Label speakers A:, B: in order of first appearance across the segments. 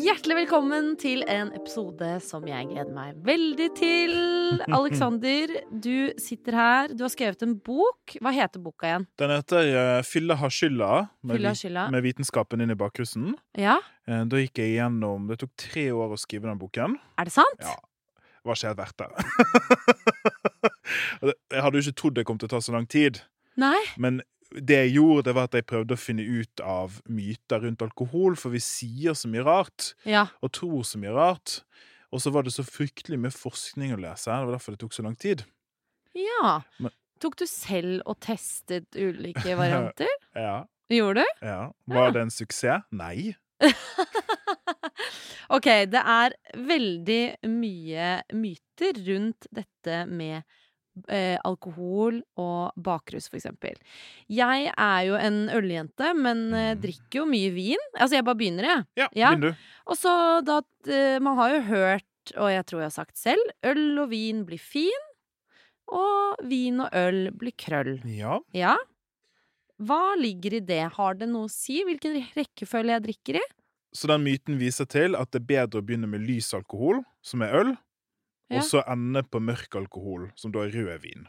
A: Hjertelig velkommen til en episode som jeg gleder meg veldig til. Aleksander, du sitter her. Du har skrevet en bok. Hva heter boka igjen?
B: Den heter eh, 'Fylla har skylda', med,
A: Fylla
B: vit-
A: skylda.
B: med vitenskapen inn i bakgrunnen.
A: Ja,
B: Eh, Da gikk jeg igjennom Det tok tre år å skrive den boken.
A: er det sant?
B: Ja. Det var ikke helt verdt det. Og det- jeg hadde jo ikke trodd det kom til å ta så lang tid.
A: Nei?
B: Men det jeg gjorde, det var at jeg prøvde å finne ut av myter rundt alkohol, for vi sier så mye rart,
A: Ja.
B: og tror så mye rart. Og så var det så fryktelig mye forskning å lese. Det var derfor det tok så lang tid.
A: ja.
B: Men-
A: Tok du selv og testet ulike varianter?
B: Ja,
A: Gjorde du?
B: ja. Var det en suksess? Nei.
A: Ok, det er veldig mye myter rundt dette med eh, alkohol og bakrus, for eksempel. Jeg er jo en øljente, men eh,
B: Mm.
A: drikker jo mye vin. Altså, jeg bare begynner, jeg.
B: Ja,
A: Ja.
B: begynn du.
A: Og så da eh, Man har jo hørt, og jeg tror jeg har sagt selv, øl og vin blir fin, og vin og øl blir krøll.
B: Ja.
A: Ja. Hva ligger i det? Har det noe å si hvilken rekkefølge jeg drikker i?
B: Så den myten viser til at det er bedre å begynne med lys alkohol, som er øl,
A: Ja.
B: og så ende på mørk alkohol, som da er rødvin.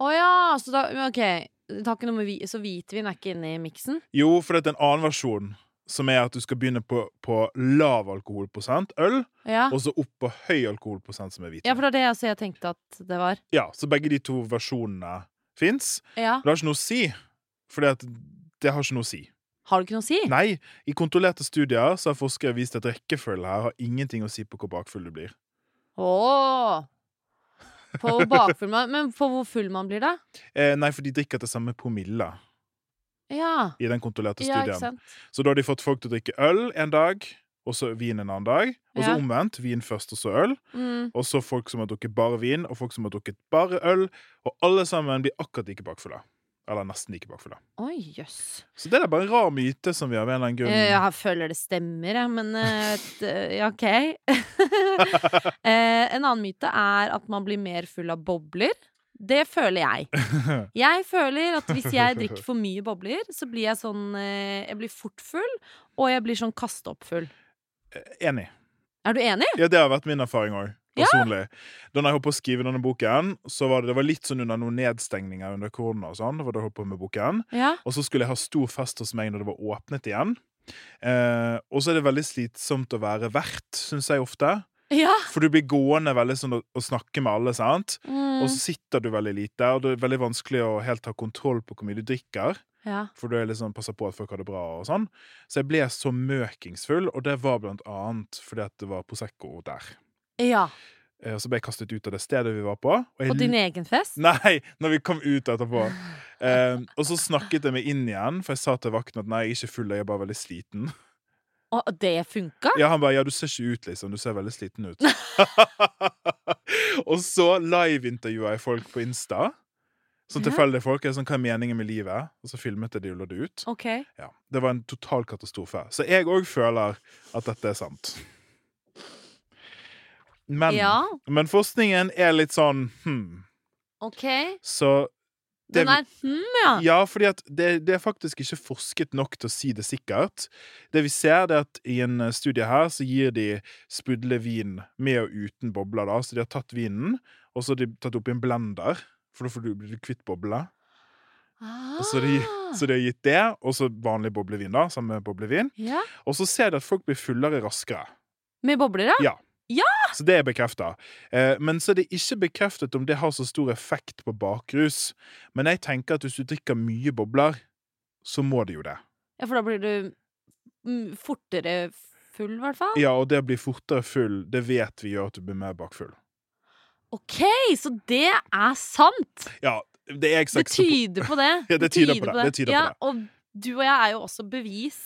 A: Å ja, så da Ok, det har ikke noe med vi, så hvitvin er ikke inne i miksen?
B: Jo, for det er en annen versjon, som er at du skal begynne på, på lav alkoholprosent øl,
A: Ja.
B: og så opp på høy alkoholprosent, som er hvitvin.
A: Ah. ja, for det var det altså jeg tenkte at det var.
B: Ja, så begge de to versjonene fins.
A: Ja.
B: Det har ikke noe å si, for det har ikke noe å si.
A: Har det ikke noe å si?
B: Nei, i kontrollerte studier så har forskere vist at rekkefølge her har ingenting å si på hvor bakfull du blir.
A: Ååå. På hvor bakfull man Men på hvor full man blir, da?
B: Eh, nei, for de drikker til samme promille
A: Ja.
B: i den kontrollerte
A: Ja,
B: studien.
A: ikke sant?
B: Så da har de fått folk til å drikke øl en dag, og så vin en annen dag. Og så
A: Ja.
B: omvendt. Vin først, og så øl.
A: Mm.
B: Og så folk som har drukket bare vin, og folk som har drukket bare øl. Og alle sammen blir akkurat like bakfulle. Eller nesten like bakfulle.
A: Oi, jøss.
B: Så det er bare en rar myte som vi har av en eller annen grunn.
A: Eh, Jeg føler det stemmer, jeg, men eh, t- ja, OK. Eh, en annen myte er at man blir mer full av bobler. Det føler jeg. Jeg føler at hvis jeg drikker for mye bobler, så blir jeg sånn eh, Jeg blir fort full, og jeg blir sånn kaste opp full.
B: Enig.
A: Er du enig?
B: Ja, det har vært min erfaring òg. Personlig. Da når jeg holdt på å skrive denne boken, så var det, det var litt sånn under noen nedstengninger under korona. og sånn, det var da jeg holdt på med boken.
A: Ja.
B: Og så skulle jeg ha stor fest hos meg når det var åpnet igjen. Eh, og så er det veldig slitsomt å være vert, syns jeg ofte.
A: Ja.
B: For du blir gående veldig sånn og, og snakke med alle, sant? Og
A: Mm.
B: så sitter du veldig lite, og det er veldig vanskelig å helt ha kontroll på hvor mye du drikker.
A: ja.
B: For du er liksom passer på at folk har det bra og sånn. Så jeg ble så møkingsfull, og det var blant annet fordi at det var Prosecco der.
A: ja.
B: Eh, Og så ble jeg kastet ut av det stedet vi var på. jeg
A: Og din egen fest?
B: Nei, når vi kom ut etterpå. Eh, og så snakket jeg meg inn igjen, for jeg sa til vakten at nei, jeg er ikke full, jeg er bare veldig sliten.
A: Og det funka?
B: Ja, han bare ja, du ser ikke ut, liksom. Du ser veldig sliten ut. og så liveintervjua jeg folk på Insta. Sånn
A: Ja.
B: tilfeldige folk. Jeg er sånn, Hva er meningen med livet? Og så filmet jeg det og la det ut.
A: OK.
B: Ja, Det var en total katastrofe. Så jeg òg føler at dette er sant. Men,
A: Ja.
B: men forskningen er litt sånn hm.
A: OK.
B: Så
A: Den
B: Det-
A: er hm, ja.
B: Ja, fordi at det, det er faktisk ikke forsket nok til å si det sikkert. Det vi ser, det er at i en eh, studie her så gir de sprudle vin med og uten bobler, da. Så de har tatt vinen, og så har de tatt opp i en blender, for da får du, blir du kvitt bobler.
A: Ah.
B: Og Så, de, så de har gitt det, og så vanlig boblevin, da, sammen med boblevin.
A: ja.
B: Og så ser de at folk blir fullere raskere.
A: Med bobler, ja?
B: Så det er bekrefta. Eh, men så er det ikke bekreftet om det har så stor effekt på bakrus. Men jeg tenker at hvis du drikker mye bobler, så må det jo det.
A: Ja, for da blir du mm, fortere full, i hvert fall.
B: Ja, og det å bli fortere full, det vet vi gjør at du blir mer bakfull.
A: OK, så det er sant!
B: Ja, det er jeg
A: Det
B: seks
A: tyder på det.
B: Ja, det tyder på det. Det tyder på
A: ja,
B: det.
A: Og du og jeg er jo også bevis.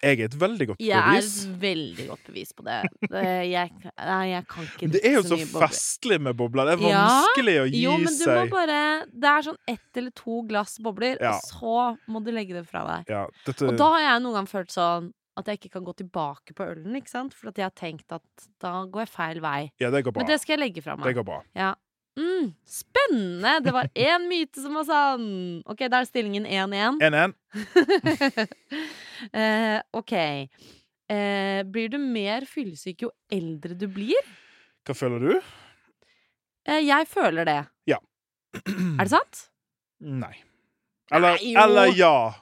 B: Jeg er et veldig godt
A: Jeg er
B: bevis.
A: et veldig godt bevis på det. det jeg, nei, jeg kan ikke
B: Det er jo så
A: mye bobler.
B: festlig med bobler. Det er
A: Ja.
B: vanskelig å gi
A: Jo, men du må
B: seg.
A: bare Det er sånn ett eller to glass bobler,
B: Ja.
A: og så må du legge det fra deg.
B: Ja, dette,
A: Og da har jeg noen gang følt sånn at jeg ikke kan gå tilbake på ølen, ikke sant? For at jeg har tenkt at da går jeg feil vei.
B: ja, det går bra.
A: Men det skal jeg legge fra meg.
B: Det går bra.
A: Ja. Mm, spennende! Det var én myte som var sann! Ok, da er stillingen 1-1.
B: 1-1.
A: Eh, ok. eh, blir du mer fyllesyk jo eldre du blir?
B: Hva føler du?
A: Eh, jeg føler det. Er
B: Mm.
A: det sant?
B: Nei. Eller,
A: Nei, jo.
B: eller ja.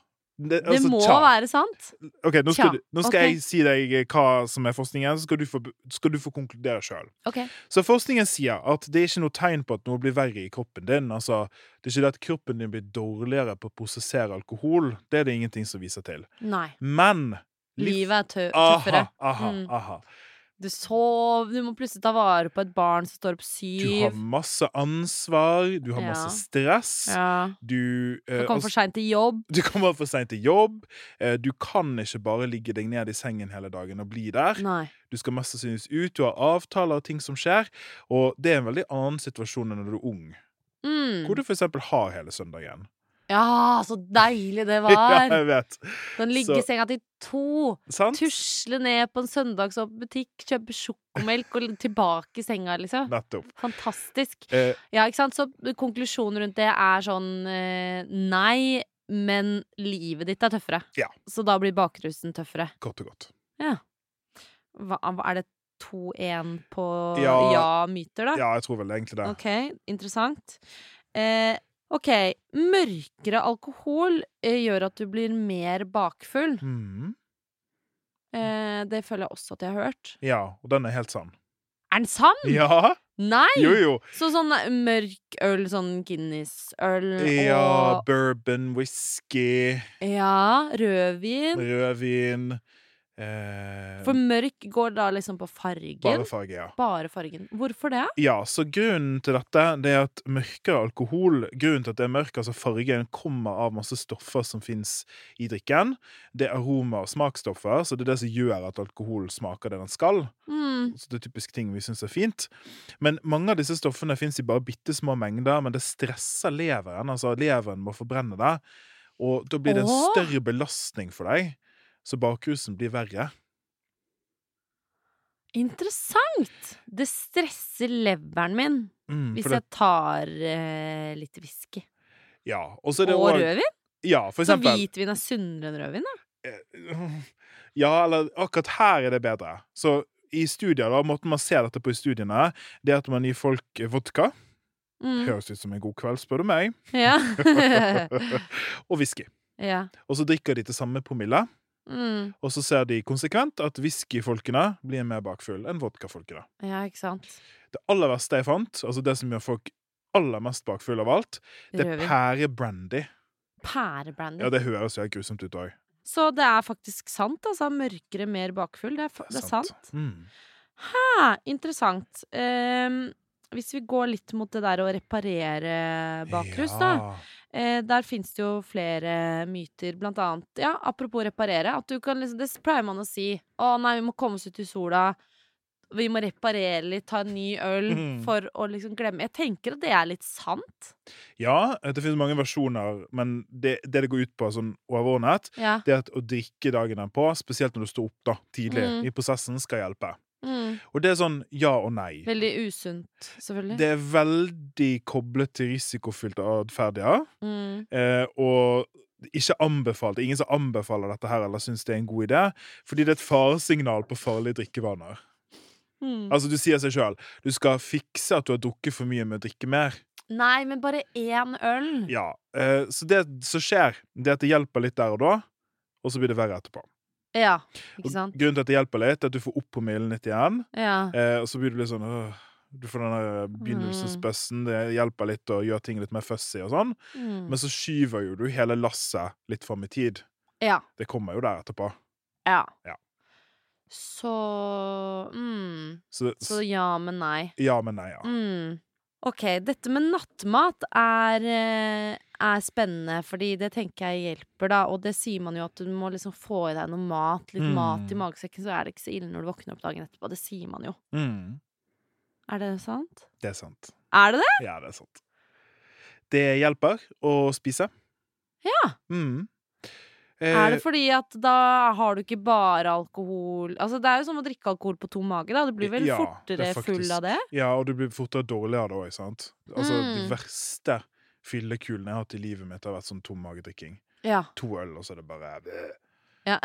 A: Det
B: Det, altså,
A: må
B: tja.
A: være sant.
B: OK, nå skal,
A: tja.
B: du, nå skal
A: Ok.
B: jeg si deg eh, hva som er forskningen, så skal du få, skal du få konkludere sjøl.
A: Ok.
B: Så forskningen sier at det er ikke noe tegn på at noe blir verre i kroppen din. Altså, det er ikke det at kroppen din blir dårligere på å prosessere alkohol. Det er det ingenting som viser til.
A: Nei.
B: Men
A: Livet er tø tøffere.
B: Aha, aha,
A: Mm.
B: aha.
A: Du sov, du må plutselig ta vare på et barn som står opp
B: Du har
A: syv.
B: masse ansvar, du har
A: Ja.
B: masse stress.
A: Ja.
B: Du, eh,
A: Du kommer
B: altså,
A: for seint til jobb.
B: du kommer for seint til jobb. Eh, du kan ikke bare ligge deg ned i sengen hele dagen og bli der.
A: Nei.
B: Du skal mest sannsynligvis ut, du har avtaler og ting som skjer. Og det er en veldig annen situasjon enn når du er ung,
A: Mm.
B: hvor du f.eks. har hele søndagen.
A: Ja, så deilig det
B: Ja,
A: var!
B: jeg vet.
A: Den liggesenga til to.
B: Sant?
A: Tusle ned på en søndagsåpen butikk, kjøpe sjokomelk og tilbake i senga, liksom.
B: Nettopp.
A: Fantastisk.
B: Eh,
A: Ja, ikke sant? Så konklusjonen rundt det er sånn eh, Nei, men livet ditt er tøffere.
B: Ja.
A: Så da blir bakrusen tøffere.
B: kort og godt.
A: Hva, er det 2-1 på
B: Ja.
A: ja-myter, da?
B: Ja, jeg tror vel egentlig det.
A: Ah. Ok, interessant. Eh, ok, mørkere alkohol eh, gjør at du blir mer bakfull.
B: Mhm.
A: Eh, det føler jeg også at jeg har hørt.
B: Ja, og den er helt sann.
A: Er den sann?
B: Ja!
A: Nei!
B: Jo, jo.
A: Så sånn mørk øl, sånn Guinness-øl
B: Ja, bourbon, whisky,
A: og Ja, rødvin.
B: rødvin eh,
A: Mm. For mørk går da liksom på fargen.
B: Bare
A: Bare,
B: farge, ja.
A: fargen. Hvorfor det?
B: Ja, så grunnen til dette det er at mørkere alkohol Grunnen til at det er mørk, altså fargen, kommer av masse stoffer som fins i drikken. Det er aroma- og smaksstoffer, så det er det som gjør at alkoholen smaker det den skal.
A: Mm.
B: Så altså, det er typisk ting vi syns er fint. Men mange av disse stoffene fins i bare bitte små mengder, men det stresser leveren. Altså, leveren må forbrenne det. Og da blir det en
A: Åh!
B: større belastning for deg. Så bakrusen blir verre.
A: Interessant! Det stresser leveren min
B: Mm,
A: hvis
B: for det,
A: jeg tar eh, litt whisky.
B: ja. Og så
A: Og
B: er det også-
A: rødvin.
B: Ja, for
A: Så
B: eksempel. eh,
A: hvitvin er sunnere enn rødvin, da.
B: Ja, eller akkurat her er det bedre. Så i studier, da, måten man ser dette på i studiene, det er at man gir folk vodka.
A: Mm.
B: Høres ut som en god kveld, spør du meg.
A: Ja.
B: og whisky.
A: ja.
B: Og så drikker de til samme promille.
A: Mm.
B: Og så ser de konsekvent at whiskyfolkene blir mer bakfull enn vodkafolkene.
A: ja, ikke sant.
B: Det aller verste jeg fant, altså det som gjør folk aller mest bakfulle av alt, det er
A: Rødvin.
B: pærebrandy.
A: Pærebrandy.
B: Ja, det høres jo helt grusomt ut òg.
A: Så det er faktisk sant, altså. Mørkere, mer bakfull. Det er, fa- det er sant.
B: Mm.
A: Hæ, interessant. Ehm, hvis vi går litt mot det der å reparere bakrus, da.
B: Ja.
A: Eh, der fins det jo flere myter, blant annet Ja, apropos reparere. At du kan liksom, det pleier man å si. Å nei, vi må komme oss ut i sola. Vi må reparere litt, ta en ny øl
B: Mhm.
A: for å liksom glemme Jeg tenker at det er litt sant.
B: Ja, det finnes mange versjoner, men det det, det går ut på sånn overordnet,
A: Ja.
B: det er at å drikke dagen derpå, spesielt når du står opp da, tidlig
A: Mm.
B: i prosessen, skal hjelpe.
A: Mm.
B: Og det er sånn ja og nei.
A: Veldig usunt, selvfølgelig.
B: Det er veldig koblet til risikofylte atferder,
A: Mm.
B: eh, og ikke anbefalt. Det er ingen som anbefaler dette her, eller syns det er en god idé, fordi det er et faresignal på farlige drikkevaner.
A: Mm.
B: Altså, du sier seg sjøl, du skal fikse at du har drukket for mye med å drikke mer.
A: Nei, men bare én øl.
B: Ja, eh, så det som skjer, det er at det hjelper litt der og da, og så blir det verre etterpå.
A: Ja,
B: Og
A: ikke sant?
B: grunnen til at det hjelper litt, er at du får opp promillen litt igjen,
A: Ja.
B: eh, og så blir du litt sånn øh, Du får den der begynnelsesbøssen, det hjelper litt å gjøre ting litt mer fussy og sånn,
A: Mm.
B: men så skyver jo du hele lasset litt fram i tid.
A: ja.
B: Det kommer jo der etterpå.
A: Ja.
B: Ja.
A: Så mm,
B: Så,
A: Så ja, men nei.
B: ja, men nei, ja.
A: Mm. OK, dette med nattmat er, eh, er spennende, fordi det tenker jeg hjelper, da. Og det sier man jo at du må liksom få i deg noe mat, litt
B: Mm.
A: mat i magesekken, så er det ikke så ille når du våkner opp dagen etterpå. Det sier man jo.
B: Mm,
A: Er det sant?
B: det er sant.
A: Er det det?
B: Ja, det er sant. Det hjelper å spise.
A: Ja.
B: Mm. Eh,
A: Er det fordi at da har du ikke bare alkohol Altså, det er jo som å drikke alkohol på tom mage, da. Du blir vel
B: Ja, det
A: fortere
B: er
A: full av det?
B: Ja, og du blir fortere dårlig av det òg, sant? Altså, de
A: Mm.
B: verste fyllekulene jeg har hatt i livet mitt, har vært sånn tom magedrikking.
A: Ja.
B: To øl, og så er det bare øh.
A: Ja.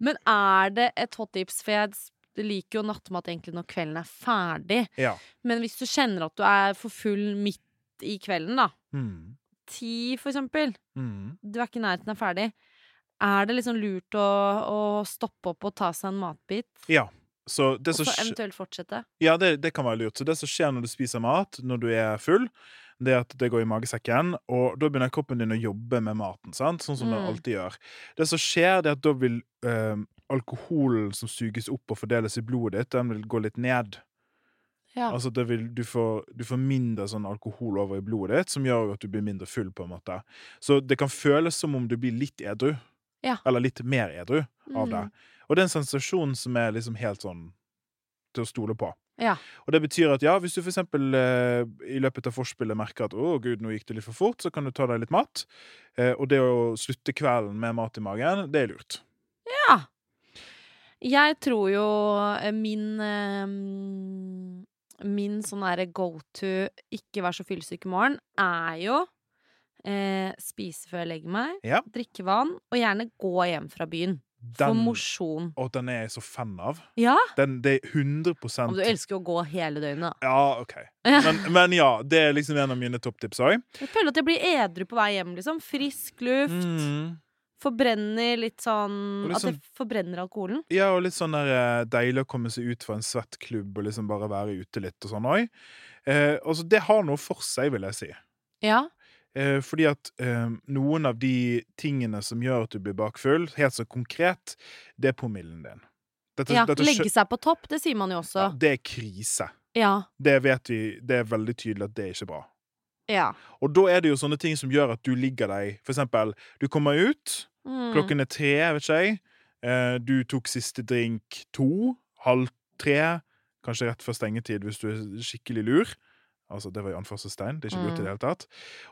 A: Men er det et hot tips? For jeg s- liker jo nattmat egentlig når kvelden er ferdig.
B: Ja.
A: Men hvis du kjenner at du er for full midt i kvelden, da.
B: Mm.
A: Ti, for eksempel.
B: Mm.
A: Du er ikke i nærheten av ferdig. Er det liksom lurt å, å stoppe opp og ta seg en matbit?
B: Ja. Så det
A: Og
B: som
A: så
B: skj-
A: eventuelt fortsette?
B: Ja, det, det kan være lurt. Så det som skjer når du spiser mat, når du er full, det er at det går i magesekken, og da begynner kroppen din å jobbe med maten, sant? sånn som den
A: Mm.
B: alltid gjør. Det som skjer, det er at da vil eh, alkoholen som suges opp og fordeles i blodet ditt, den vil gå litt ned.
A: Ja.
B: Altså, det vil, du, får, du får mindre sånn alkohol over i blodet ditt, som gjør jo at du blir mindre full, på en måte. Så det kan føles som om du blir litt edru.
A: Ja.
B: Eller litt mer edru av det.
A: Mm.
B: Og det er en sensasjon som er liksom helt sånn til å stole på.
A: Ja.
B: Og det betyr at ja, hvis du for eksempel eh, i løpet av forspillet merker at å gud, nå gikk det litt for fort, så kan du ta deg litt mat. Eh, og det å slutte kvelden med mat i magen, det er lurt.
A: Jeg tror jo eh, min eh, Min sånn derre go to ikke vær så fyllesyk i morgen, er jo eh, spise før jeg legger meg,
B: Ja.
A: drikke vann, og gjerne gå hjem fra byen. For
B: Den,
A: mosjon.
B: og den er jeg så fan av.
A: Ja.
B: Den, det er 100
A: Om du elsker å gå hele døgnet.
B: Ja, OK.
A: Ja.
B: Men, men ja, det er liksom en av mine topptips òg.
A: Jeg føler at jeg blir edru på vei hjem, liksom. Frisk luft. Forbrenner litt sånn
B: Mm. Og liksom litt
A: At jeg forbrenner alkoholen.
B: Ja, og litt sånn der eh, deilig å komme seg ut fra en svett klubb og liksom bare være ute litt og sånn òg. Eh, altså, det har noe for seg, vil jeg si.
A: Ja.
B: Eh, fordi at eh, noen av de tingene som gjør at du blir bakfull, helt så konkret, det er promillen din. Dette,
A: ja.
B: dette skjø-
A: Legge seg på topp, det sier man jo
B: ja,
A: også.
B: Det er krise.
A: Ja.
B: Det vet vi, det er veldig tydelig at det er ikke bra.
A: Ja.
B: Og da er det jo sånne ting som gjør at du ligger deg For eksempel, du kommer ut,
A: Mm.
B: klokken er tre, jeg vet ikke jeg. Eh, Du tok siste drink to, halv tre, kanskje rett før stengetid hvis du er skikkelig lur. Altså, det var i anførselstegn. Det er ikke lurt
A: Mm.
B: i det hele tatt.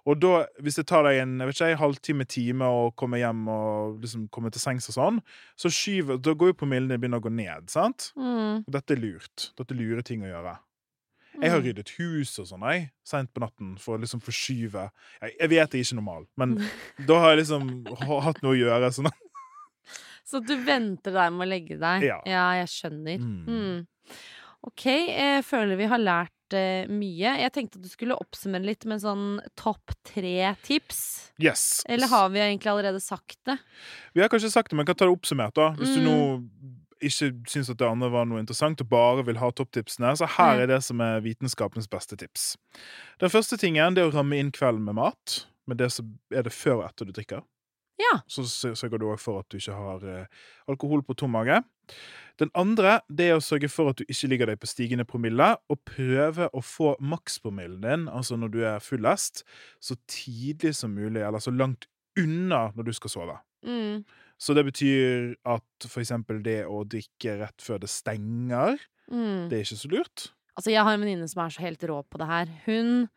B: Og da, hvis det tar deg en jeg vet ikke, jeg, halvtime, time å komme hjem og liksom komme til sengs og sånn, så skyver, da går jo promillen din begynner å gå ned, sant?
A: Mm.
B: Dette er lurt. Dette er lure ting å gjøre. Jeg har
A: Mm.
B: ryddet hus og sånn, jeg, sent på natten, for å liksom forskyve Jeg, jeg vet jeg er ikke normal, men da har jeg liksom ha- hatt noe å gjøre. sånn
A: Så du venter deg med å legge deg?
B: Ja.
A: jeg skjønner.
B: Mm.
A: Mm. Ok, jeg føler vi har lært eh, mye. Jeg tenkte at du skulle oppsummere litt med sånn topp tre tips.
B: Yes.
A: Eller har vi egentlig allerede sagt det?
B: Vi har kanskje sagt det, men kan ta det oppsummert, da. Hvis du
A: Mm.
B: nå ikke syns at det andre var noe interessant, og bare vil ha topptipsene, så her
A: Mm.
B: er det som er vitenskapens beste tips. Den første tingen det er å ramme inn kvelden med mat, men det som er det før og etter du drikker.
A: Ja.
B: Så s- sørger du òg for at du ikke har eh, alkohol på tom mage. Den andre det er å sørge for at du ikke ligger deg på stigende promille, og prøve å få makspromillen din, altså når du er fullest, så tidlig som mulig, eller så langt unna når du skal sove.
A: Mm.
B: Så det betyr at for eksempel det å drikke rett før det stenger,
A: Mm.
B: det er ikke så lurt.
A: Altså, jeg har en venninne som er så helt rå på det her. Hun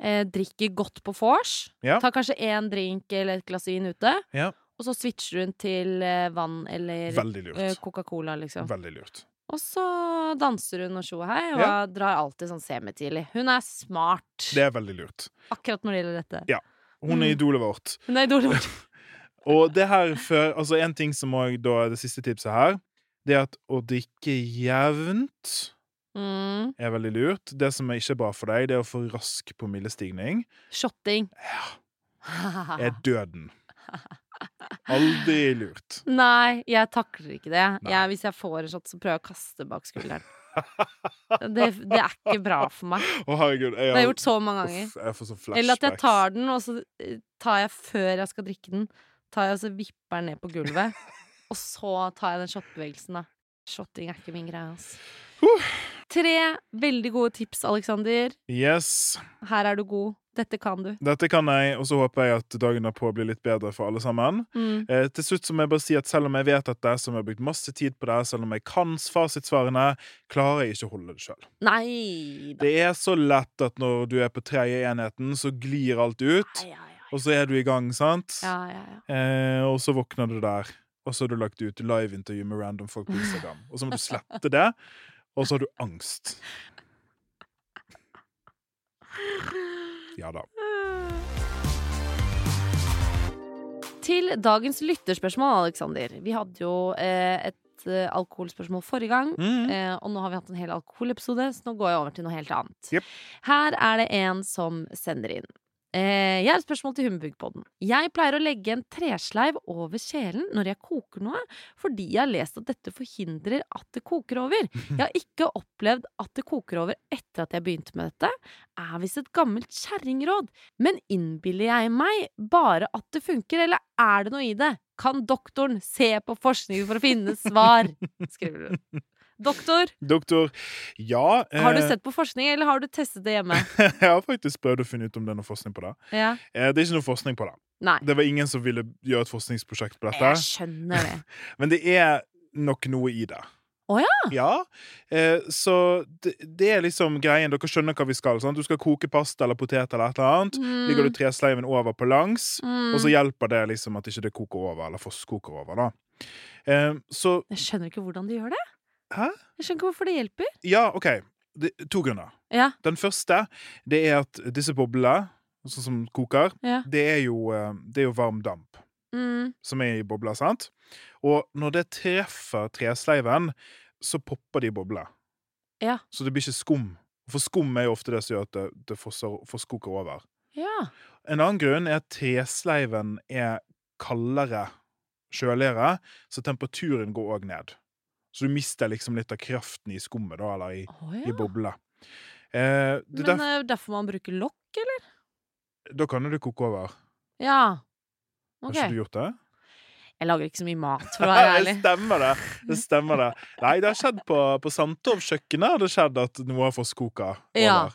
A: eh, drikker godt på vors.
B: Ja.
A: Tar kanskje én drink eller et glass vin ute.
B: Ja.
A: Og så switcher hun til eh, vann eller
B: Veldig
A: eh,
B: lurt.
A: Coca-Cola, liksom.
B: Veldig lurt.
A: Og så danser hun og tjo og hei, og
B: Ja.
A: drar alltid sånn semitidlig. Hun er smart
B: Det er veldig lurt.
A: akkurat når det gjelder dette.
B: Ja. Hun er
A: Mm.
B: idolet vårt.
A: Hun er idolet vårt.
B: Og det her før Altså, en ting som òg da er det siste tipset her, det er at å drikke jevnt
A: Mm.
B: er veldig lurt. Det som er ikke er bra for deg, det er å få rask promillestigning.
A: Shotting. Ah.
B: Er døden. Aldri lurt.
A: Nei, jeg takler ikke det.
B: Nei.
A: Jeg, hvis jeg får en shot, så prøver jeg å kaste bak skulderen. Det, det er ikke bra for meg.
B: Å, herregud.
A: Det har jeg gjort så mange ganger.
B: Uff, jeg får sånn flashbacks.
A: Eller at jeg tar den, og så eh, tar jeg før jeg skal drikke den, tar jeg og så vipper den ned på gulvet. Og så tar jeg den shotbevegelsen, da. Shotting er ikke min greie, altså. Tre veldig gode tips, Aleksander.
B: Yes.
A: Her er du god. Dette kan du.
B: Dette kan jeg, og så håper jeg at dagen derpå blir litt bedre for alle sammen.
A: Mm.
B: Eh, til slutt så må jeg bare si at selv om jeg vet dette, som jeg har brukt masse tid på det, selv om jeg kan fasitsvarene, klarer jeg ikke å holde det sjøl.
A: Nei da.
B: Det er så lett at når du er på tredje enheten, så glir alt ut,
A: Ja, ja, ja.
B: og så er du i gang, sant?
A: ja, ja, ja.
B: Eh, og så våkner du der, og så har du lagt ut liveintervju med random folk på Instagram, og så må du slette det, og så har du angst. Ja da.
A: til dagens lytterspørsmål, Aleksander. Vi hadde jo eh, et eh, alkoholspørsmål forrige gang.
B: Mm.
A: Eh, og nå har vi hatt en hel alkoholepisode, så nå går jeg over til noe helt annet.
B: Jep.
A: Her er det en som sender inn. Eh, jeg har et spørsmål til Humbugpodden. Jeg pleier å legge en tresleiv over kjelen når jeg koker noe, fordi jeg har lest at dette forhindrer at det koker over. Jeg har ikke opplevd at det koker over etter at jeg begynte med dette. Er visst et gammelt kjerringråd. Men innbiller jeg meg bare at det funker, eller er det noe i det? Kan doktoren se på forskning for å finne svar? Skriver hun. Doktor,
B: Doktor, ja
A: har du
B: eh,
A: sett på forskning, eller har du testet det hjemme?
B: Jeg har faktisk prøvd å finne ut om det er noe forskning på det.
A: Ja.
B: Eh, det er ikke noe forskning på det.
A: Nei.
B: Det var ingen som ville gjøre et forskningsprosjekt på dette.
A: Jeg skjønner det.
B: Men det er nok noe i det.
A: Å
B: ja. Eh, så det, det er liksom greien. Dere skjønner hva vi skal. Sant? Du skal koke pasta eller potet eller et eller annet.
A: Mm,
B: Ligger du tresleiven over på langs,
A: mm.
B: og så hjelper det liksom at ikke det koker over, eller fosskoker over, da. Eh, så
A: Jeg skjønner ikke hvordan de gjør det.
B: Hæ?
A: Jeg skjønner ikke hvorfor det hjelper.
B: ja, OK. Det, to grunner.
A: Ja.
B: Den første det er at disse boblene, sånn som koker,
A: Ja.
B: det er jo, eh, det er jo varm damp.
A: Mm.
B: som er i bobla, sant? Og når det treffer tresleiven, så popper de i bobla.
A: Ja.
B: Så det blir ikke skum. For skum er jo ofte det som gjør at det, det fosser- forskkoker over.
A: ja.
B: En annen grunn er at tresleiven er kaldere, kjøligere, så temperaturen går òg ned. Så du mister liksom litt av kraften i skummet, da, eller i,
A: Å
B: i
A: ja.
B: bobla. Eh, det er
A: Men eh, derfor man bruker lokk, eller?
B: derf- da kan jo det koke over.
A: Ja.
B: Har
A: Ok.
B: ikke du gjort det?
A: Jeg lager ikke så mye mat, for å være ærlig.
B: Det stemmer det. Det stemmer det. Nei, det har skjedd på, på Sandtorv-kjøkkenet har det skjedd at noe har fått koka over.
A: Ja.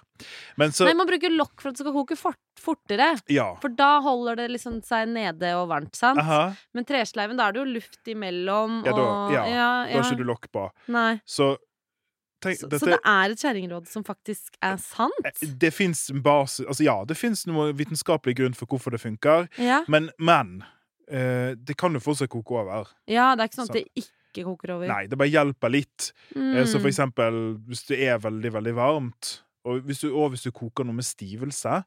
B: Men så
A: Nei, man bruker lokk for at det skal koke fort, fortere.
B: Ja.
A: For da holder det liksom seg nede og varmt, sant?
B: Aha,
A: Men tresleiven, da er det jo luft imellom
B: Ja, da-
A: og
B: ja,
A: ja,
B: da har ikke du lokk på.
A: Nei.
B: Så tenk,
A: Så, så
B: dette Eh,
A: det er et kjerringråd som faktisk er sant?
B: Det fins basis Altså, ja, det fins noe vitenskapelig grunn for hvorfor det funker,
A: Ja.
B: men, men eh, det kan jo fortsatt koke over.
A: ja, det er ikke sånn at det ikke koker over.
B: Nei, det bare hjelper litt.
A: Mm.
B: Eh, Så for eksempel, hvis det er veldig, veldig varmt, og hvis du, og hvis du koker noe med stivelse,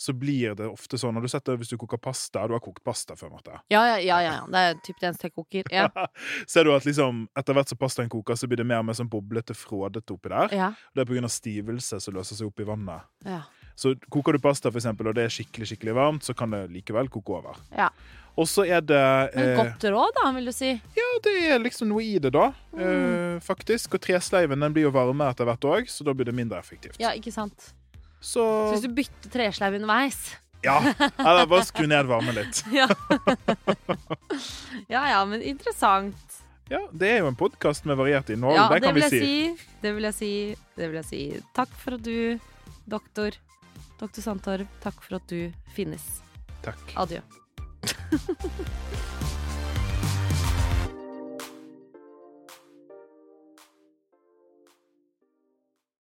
B: så blir det ofte sånn Har du sett det hvis du koker pasta? Du har kokt pasta før, Marte.
A: Ja, ja, ja, ja, ja. Det er typ det eneste jeg koker. Ja.
B: Ser du at liksom, etter hvert som pastaen koker, så blir det mer og mer sånn boblete, frådete oppi der.
A: Ja.
B: Det er pga. stivelse som løser seg opp i vannet.
A: ja.
B: Så koker du pasta, for eksempel, og det er skikkelig, skikkelig varmt, så kan det likevel koke over.
A: Ja.
B: Og så er det
A: Men
B: eh,
A: godt råd, da, vil du si.
B: Ja, det er liksom noe i det, da.
A: Mm.
B: Eh, faktisk. Og tresleiven den blir jo varme etter hvert òg, så da blir det mindre effektivt.
A: Ja, ikke sant?
B: Så
A: Så hvis du bytter tresleiv underveis
B: Ja. Eller bare skru ned varmen litt.
A: Ja. ja ja, men interessant.
B: Ja, Det er jo en podkast med variert innhold.
A: Ja,
B: det
A: det
B: kan
A: vil
B: vi
A: jeg
B: si.
A: si. Det vil jeg si. Det vil jeg si. Takk for at du, doktor Doktor Sandtorv, takk for at du finnes.
B: Takk.
A: Adjø.